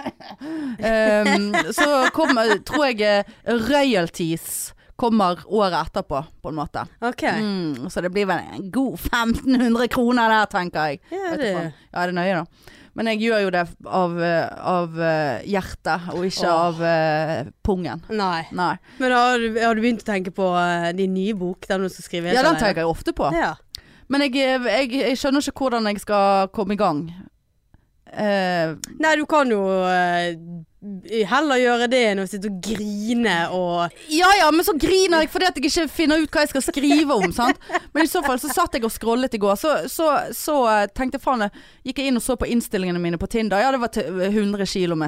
em, Så kommer, tror jeg eh, royalties kommer året etterpå, på en måte. OK. Mm, så det blir vel en god 1500 kroner der, tenker jeg. Ja, Vet du det- faen. ja, det er nøye, da. Men jeg gjør jo det av, eh, av eh, hjertet, og ikke Åh. av eh, pungen. Nei. Nei. Men har du, har du begynt å tenke på eh, din nye bok, den du skal skrive? Ja, helt den alene? tenker jeg ofte på. Ja. Men jeg, jeg, jeg skjønner ikke hvordan jeg skal komme i gang. Eh, Nei, du kan jo eh, heller gjøre det enn å sitte og grine og ja ja, men så griner jeg fordi at jeg ikke finner ut hva jeg skal skrive om. Sant? Men i så fall så satt jeg og scrollet i går, så, så, så eh, tenkte jeg faen eh, Gikk jeg inn og så på innstillingene mine på Tinder. Ja, det var til- 100 km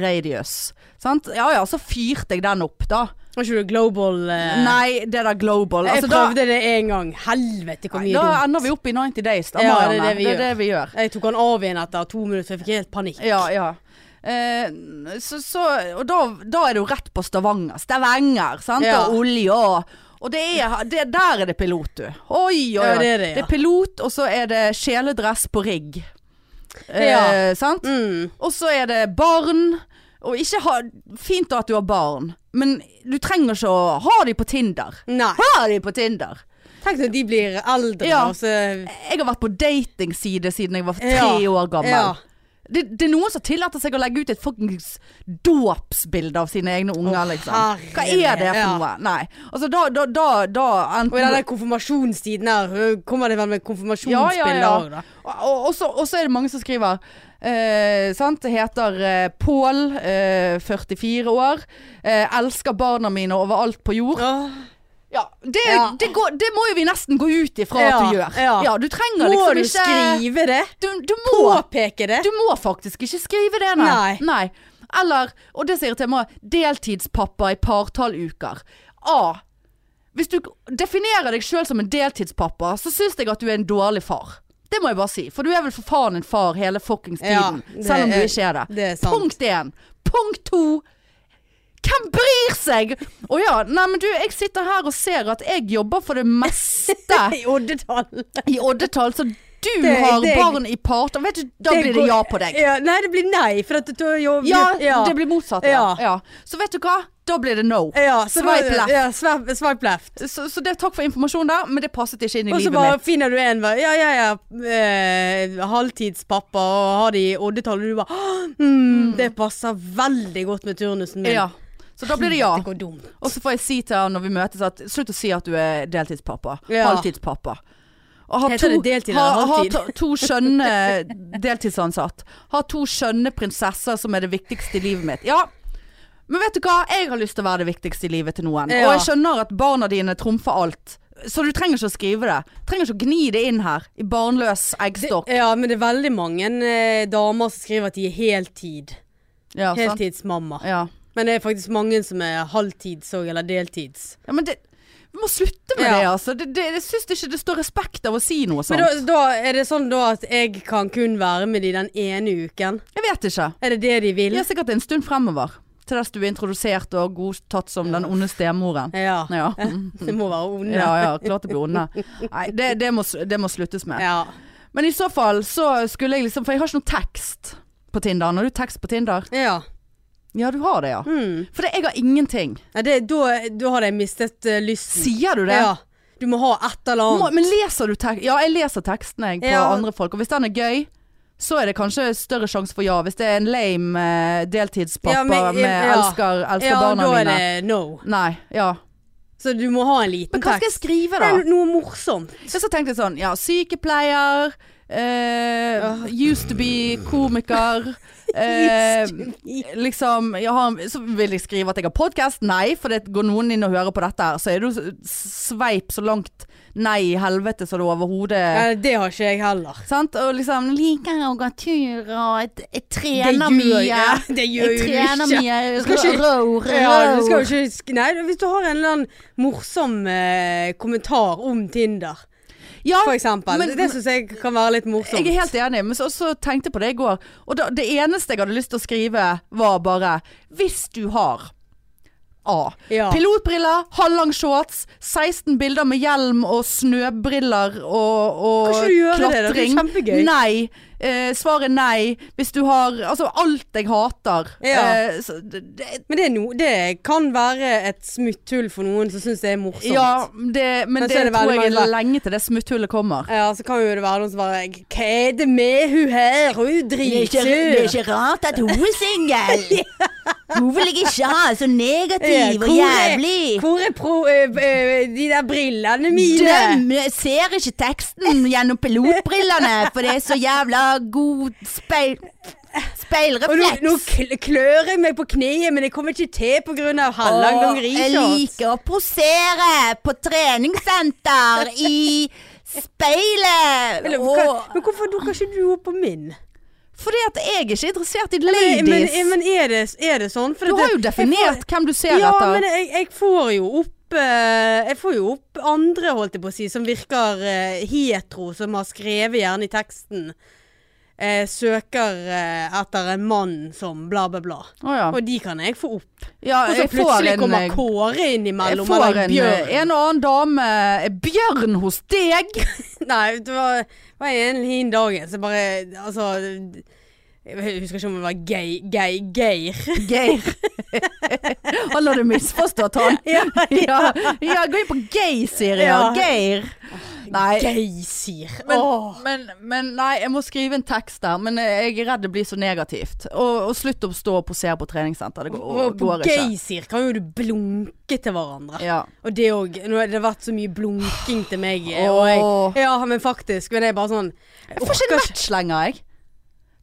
radius. Sant? Ja ja, så fyrte jeg den opp, da. Var ikke du global eh, Nei, det der global. Jeg Altså, da, prøvde det en gang. Helvete, hvor mye da dumt. ender vi opp i 90 days, da, Ja, Marianne. Det er det vi, gjør. Jeg tok han av igjen etter to minutter, for jeg fikk helt panikk. Ja, ja. Eh, så, så, og da, da er det jo rett på Stavanger. Stavanger, sant? Ja. Og olje og Og det er, det, der er det pilot, du. Oi, oi, oi. Ja, det er det, ja. er pilot, og så er det kjeledress på rigg. Eh, Ja. sant? Mm. Og så er det barn. Og ikke ha Fint at du har barn, men du trenger ikke å ha de på Tinder. Nei. Ha de på Tinder! Tenk når de blir eldre, Ja. og så Jeg har vært på datingside siden jeg var tre Ja. år gammel. Ja. Det, det er noen som tillater seg å legge ut et fuckings dåpsbilde av sine egne unger, liksom. Hva er det for herre, ja. noe? Nei. Altså, da, da, da, da Og i den enten der konfirmasjonstiden her øh, kommer det vel med Ja, ja, konfirmasjonsbilder ja. òg, da. Og, og, og så- og så er det mange som skriver eh, sant? Det heter eh, Pål, eh, 44 år. Eh, elsker barna mine overalt på jord. Ja, det, Ja. Det, går, det må jo vi nesten gå ut ifra at Ja, du gjør. ja. du trenger Må liksom du ikke skrive det? Du, du må Påpeke det? Du må faktisk ikke skrive det, nei. Nei. Eller, og det sier jeg til meg, deltidspappa i partalluker. A. Hvis du definerer deg sjøl som en deltidspappa, så syns jeg at du er en dårlig far. Det må jeg bare si. For du er vel for faen en far hele fuckings Ja, tiden. det selv om du er- ikke er det. det er sant. Punkt én. Punkt to. Hvem bryr seg? Å ja, nei men du, jeg sitter her og ser at jeg jobber for det meste I oddetall. i oddetall, så du Det- har det- barn i parter. Vet du, da blir det går- ja på deg. Ja, nei, det blir nei, for at du jo Ja, det blir motsatt. Ja. Ja. Ja. Så vet du hva? Da blir det no. ja, så var- Swipe left. Ja, swipe, swipe left. Så, så det, takk for informasjonen der, men det passet ikke inn i Og så livet bare mitt. finner du en bare, Ja, ja, ja. Eh, halvtidspappa og har de i oddetall, og du bare «Åh, mm, Det passer veldig godt med turnusen min. Ja. Så da blir det ja. Det går dumt. Og så får jeg si til han når vi møtes at slutt å si at du er deltidspappa. Ja. Halvtidspappa. Og har Heter to- det deltid ha- eller halvtid? ha to- to skjønne deltidsansatt. Har to skjønne prinsesser som er det viktigste i livet mitt. Ja. Men vet du hva? Jeg har lyst til å være det viktigste i livet til noen. Ja. Og jeg skjønner at barna dine trumfer alt. Så du trenger ikke å skrive det. Trenger ikke å gni det inn her i barnløs eggstokk. Ja, men det er veldig mange eh, damer som skriver at de er heltid. Ja, sant? Heltidsmamma. Ja. Men det er faktisk mange som er halvtids òg, eller deltids. ja, men det Vi må slutte med Ja. det, altså. Det, det, jeg syns ikke det står respekt av å si noe sånt. Men da, da er det sånn da at jeg kan kun være med de den ene uken? Jeg vet ikke. Er det det de vil? Ja, sikkert en stund fremover. Til dess du er introdusert og godtatt som den onde stemoren. Ja. Ja, Det må være onde. ja, ja klart det blir onde. Nei, det, det, må, det må sluttes med. Ja. Men i så fall så skulle jeg liksom For jeg har ikke noe tekst på Tinder. Når du tekst på Tinder? ja. Ja, du har det, ja. Mm. For det, jeg har ingenting. ja det, da, da har jeg mistet eh, lysten. Sier du det? Ja. Du må ha et eller Må, annet. men leser du tekst? Ja, jeg leser tekstene jeg på Ja. andre folk. Og hvis den er gøy, så er det kanskje større sjanse for ja. Hvis det er en lame eh, deltidspappa Ja, men- med ja. elsker, elsker ja, barna da er mine. det no. Nei. Ja. Så du må ha en liten Men hva skal jeg tekst. skrive, Det da? er noe morsomt. Så, så tenkte jeg sånn, ja, sykepleier, eh, used to be komiker, eh, liksom, jeg har, så vil jeg skrive at jeg har podcast, nei, for det går noen inn og hører på dette her, så er du sveip så langt nei i helvete som du overhodet Ja, det har ikke jeg heller. Sant? Og liksom liker å gå tur og jeg, jeg Det trener gjør- mye. ja, det gjør jeg jo trener ikke. mye. skal ikke- Rå, rå, Ja, du skal jo ikke sk- Nei, hvis du har en eller annen morsom eh, kommentar om Tinder, Ja, for eksempel. Ah, men- det syns jeg kan være litt morsomt. Jeg er helt enig, men så, så tenkte jeg på det i går. Og da, det eneste jeg hadde lyst til å skrive var bare Hvis du har A. Ja. Pilotbriller, halvlang shorts, 16 bilder med hjelm og snøbriller og, og Kan ikke du gjøre det, da? Det er kjempegøy. Nei. Eh, svaret er nei. Hvis du har Altså alt jeg hater. Ja. Eh, så, det, det, Men det, er no, det kan være et smutthull for noen som syns det er morsomt. ja, det, men, Men så det, er det tror veldig jeg mange- er lenge til det smutthullet kommer. Ja, så kan jo det være noen som bare Hva er det med hun her? Hun er jo dritsur. ikke rart at hun er singel. Hun vil ikke ha så Ja, negativ hvor er- Hvor er pro, eh, eh, de der brillene mine? Døm, jeg eh, ser ikke teksten gjennom pilotbrillene, for det er så jævla god speil... Og nå, nå Speilrefleks. kl- klør jeg meg på kneet, men jeg kommer ikke til pga. halvlang Og jeg dongerishorts. liker å posere på treningssenter i speilet. Eller, Og hva- Men hvorfor dukker ikke du opp på min? Fordi at jeg er ikke interessert i Men, ladies. men, men er, det, er det sånn? For du at har jo det- definert hvem du ser jeg får, ja, etter. men jeg, jeg får jo opp eh, Jeg får jo opp andre, holdt jeg på å si, som virker eh, hetero, som har skrevet gjerne i teksten eh, søker eh, etter en mann som bla, bla, bla. Å ja. Og de kan jeg få opp. ja. Og så Jeg får plutselig en, eh, eh, kommer jeg Kåre innimellom. får eller en, eh, Bjørn. en og annen dame eh, Bjørn hos deg! Nei, det var, var en hin dagen så bare Altså Jeg husker ikke om det var Geir Geir, Geir. Geir. Han hadde misforstått, han. Ja, ja, ja, gå inn på gay, sier jeg. Ja. Geir. Nei. Geysir. Men, Åh. men, men nei, jeg må skrive en tekst der. Men jeg er redd det blir så negativt. Og, og slutt å stå og posere på treningssenter. Det går, Og på går ikke. Geysir kan jo du blunke til hverandre. Ja. Og det òg. Nå har det vært så mye blunking til meg. eh, Og jeg, Åh. ja, men faktisk. Men det er bare sånn Jeg får ikke en match lenger, jeg.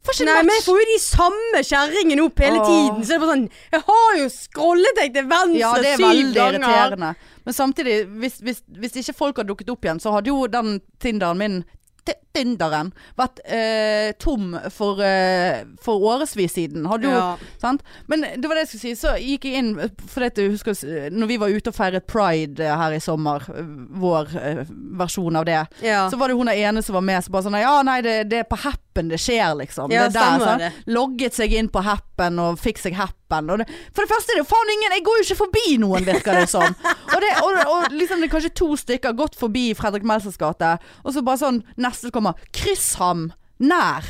Får ikke Nei, en men jeg match. får jo de samme kjerringene opp hele Åh. tiden. Så det er bare sånn Jeg har jo scrollet deg til venstre Ja, det er syv veldig ganger. irriterende. Men samtidig, hvis, hvis, hvis ikke folk hadde dukket opp igjen, så hadde jo den Tinderen min T- Tinderen vært eh, tom for, eh, for årevis siden. Hadde jo Ja. Sant? Men det var det jeg skulle si. Så gikk jeg inn For dette, jeg husker, når vi var ute og feiret pride eh, her i sommer, eh, vår eh, versjon av det, Ja. så var det hun der ene som var med som bare sånn Ja, nei, det, det er på Happen det skjer, liksom. Ja, det er stemmer der, sant? det. Logget seg inn på Happen og fikk seg Happen. Og det, for det første er det jo faen ingen Jeg går jo ikke forbi noen, virker det som. og, det, og, og liksom det er kanskje to stykker gått forbi Fredrik Melsers gate, og så bare sånn Neste kommer Kryss ham nær.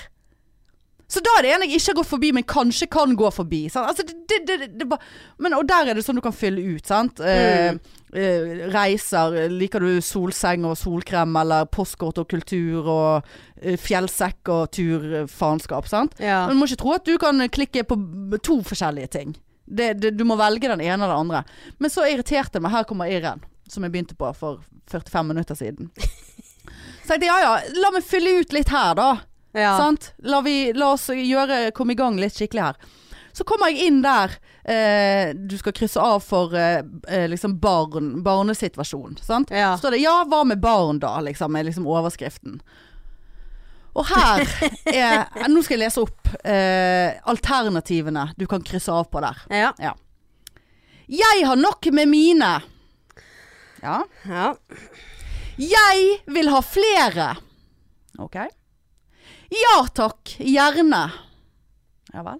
Så da er det en jeg ikke har gått forbi, men kanskje kan gå forbi. Sant? Altså, det, det, det, det, er bare- men, og der er det sånn du kan fylle ut, sant. Eh, eh, reiser, liker du solseng og solkrem, eller postkort og kultur og eh, fjellsekk og turfaenskap, sant. ja. Men du må ikke tro at du kan klikke på b- to forskjellige ting. Det, det, du må velge den ene eller den andre. Men så irriterte det meg. Her kommer Irren, som jeg begynte på for 45 minutter siden. Så tenkte jeg ja ja, la meg fylle ut litt her, da. ja. Sant? La, vi, la oss gjøre, komme i gang litt skikkelig her. Så kommer jeg inn der eh, du skal krysse av for eh, eh, liksom barn, barnesituasjon. Sant? Ja. Så står det 'ja, hva med barn', da, liksom, er liksom overskriften. Og her er Nå skal jeg lese opp eh, alternativene du kan krysse av på der. Ja. Jeg har nok med mine. Ja. ja. Jeg vil ha flere. Ok. Ja takk, gjerne. Ja vel.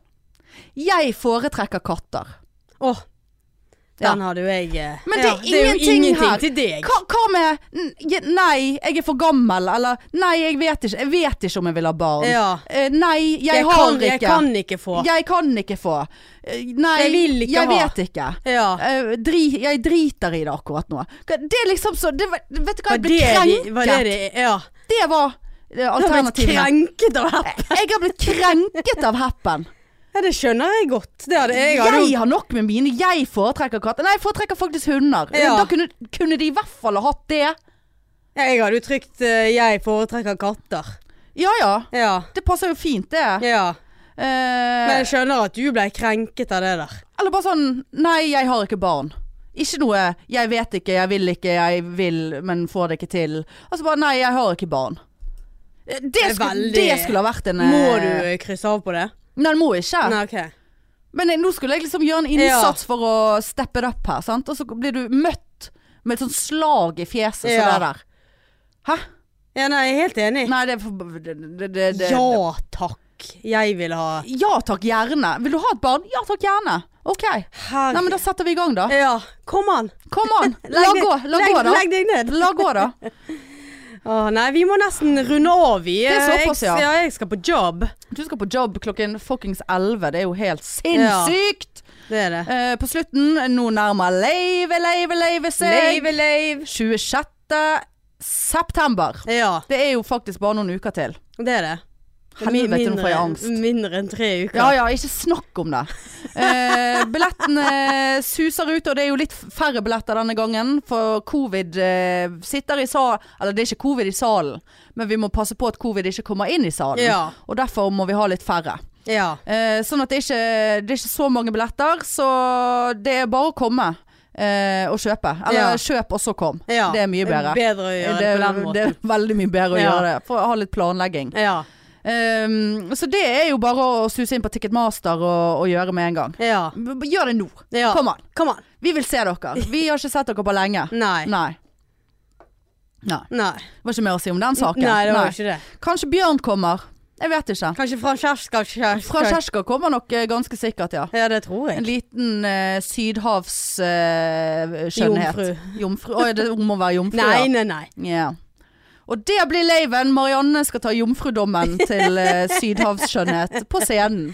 Jeg foretrekker katter. Åh, Ja. den hadde jo jeg eh, Men det er jo ingenting ingenting her. til deg. Hva, hva med n- je- Nei, jeg er for gammel, eller Nei, jeg vet ikke, jeg vet ikke om jeg vil ha barn. Ja. Eh, nei, jeg, Jeg, har kan, ikke. jeg kan ikke få. Jeg kan ikke få. Eh, Nei, Jeg vil ikke jeg ha. vet ikke. Ja. Eh, dri, jeg driter i det akkurat nå. Hva- Det er liksom så det, var- Vet du hva, Var jeg det ble krenket. de- var det de Ja. det var eh, Du har blitt alternativet. krenket av app. Jeg har blitt krenket av happen. Ja, det skjønner jeg godt. Det hadde jeg Jeg hadde jo- har nok med mine. Jeg foretrekker katter. Nei, jeg foretrekker faktisk hunder. Ja. Da kunne, kunne de i hvert fall ha hatt det. Ja, jeg hadde jo trykt eh, 'jeg foretrekker katter'. Ja ja. Ja. Det passer jo fint, det. ja. Men Eh, jeg skjønner at du ble krenket av det der. eller bare sånn Nei, jeg har ikke barn. Ikke noe 'jeg vet ikke, jeg vil ikke, jeg vil, men får det ikke til'. Altså bare 'nei, jeg har ikke barn'. Eh, Det er skulle, veldig- det skulle ha vært en eh, Må du eh, krysse av på det? Nei, den må ikke. Nei, ok. Men jeg- nå skulle jeg liksom gjøre en innsats for å steppe det opp her, sant? Og så blir du møtt med et sånt slag i fjeset som Ja. det der. Hæ? Ja, nei, jeg er helt enig. Nei, det er for... Det, det, det, det. Ja takk. Jeg vil ha Ja takk, gjerne. Vil du ha et barn? Ja takk, gjerne. Ok. Nei, men da setter vi i gang da. Ja, kom an. Kom an. La deg- gå, la legg, gå da. legg deg ned. La gå da. Åh, nei, vi må nesten runde av. Vi. er såpass, jeg, ja. ja. Jeg skal på job. Du skal på jobb klokken fuckings 11. Det er jo helt sinnssykt. Det er det. Eh, på slutten, nå nærmer leive, leive, leive seg. Lave, lave. 26. september. Ja, Det er jo faktisk bare noen uker til. det er det. Det er mi- Helvete, nå får jeg mindre- angst. Mindre enn tre uker. Ja ja, ikke snakk om det. Eh, billettene suser ut, og det er jo litt færre billetter denne gangen. For covid eh, sitter i salen Eller det er ikke covid i salen, men vi må passe på at covid ikke kommer inn i salen. Ja. Og derfor må vi ha litt færre. ja. Eh, sånn at det er, ikke, det er ikke så mange billetter, så det er bare å komme eh, og kjøpe. Eller Ja. kjøp og så kom. ja. Det er mye bedre. Bedre å gjøre det, det, på den er- det måten. er veldig mye bedre å Ja. gjøre det. For å ha litt planlegging. Ja. Ehm, så det er jo bare å suse inn på Ticketmaster og, og gjøre med en gang. Ja. B- b- Gjør det nå. ja. Kom an. Kom an. Vi vil se dere. Vi har ikke sett dere på lenge. Nei. Nei. Nei. Nei. Det var ikke mer å si om den saken. Nei, det var Nei. jo ikke det. Kanskje Bjørn kommer. Jeg vet ikke. Kanskje Fran Kjerskal Fra Kjerska kommer nok eh, ganske sikkert, ja. Ja, det tror En jeg. liten eh, sydhavsskjønnhet. Jomfru. jomfru. Å, er det om å være jomfru? Nei, ja. nei, nei. Ja. Og det blir laven. Marianne skal ta jomfrudommen til eh, sydhavsskjønnhet på scenen.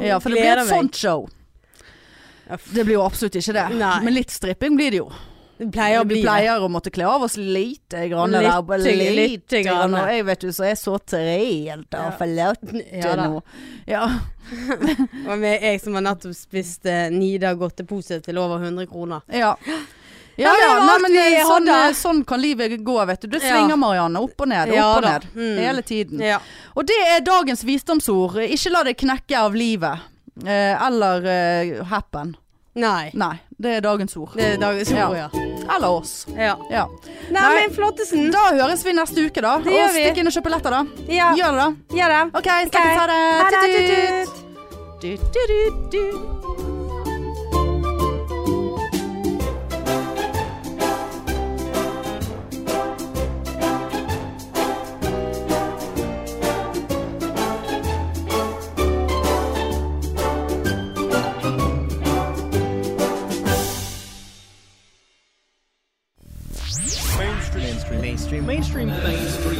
Ja, for det blir Gleder et meg. sånt show. Uff. Det blir jo absolutt ikke det. Nei. Men litt stripping blir det jo. Det pleier å vi bli det. pleier å måtte kle av oss lite grann. Lite, der, bare lite, lite grann. grann. Og jeg vet jo, så jeg så tre jenter Ja. forlatt Ja da. nå. Ja. Det var med jeg som har nettopp spist eh, Nidar godtepose til over 100 kroner. Ja. Ja, det ja, var Nei, alt men vi eh, sånn, hadde. eh, sånn kan livet gå, vet du. Det Ja. svinger Marianne opp og ned, opp Ja og da. ned. Mm. Hele tiden. Ja. Og det er dagens visdomsord. Ikke la deg knekke av livet. Eh, eller eh, happen. Nei. Nei, det er dagens ord. Det er dagens ord, ja. Eller oss. ja. Ja. Nei, Nei. men Flottesen. Da høres vi neste uke, da. Det gjør og vi. stikk inn og kjøp billetter, da. Ja, Gjør det, da. gjør det. OK, snakkes. Ha det. Ha det. Tut-tut. Tut-tut. Du-du-du-du. mainstream mainstream mainstream mainstream mainstream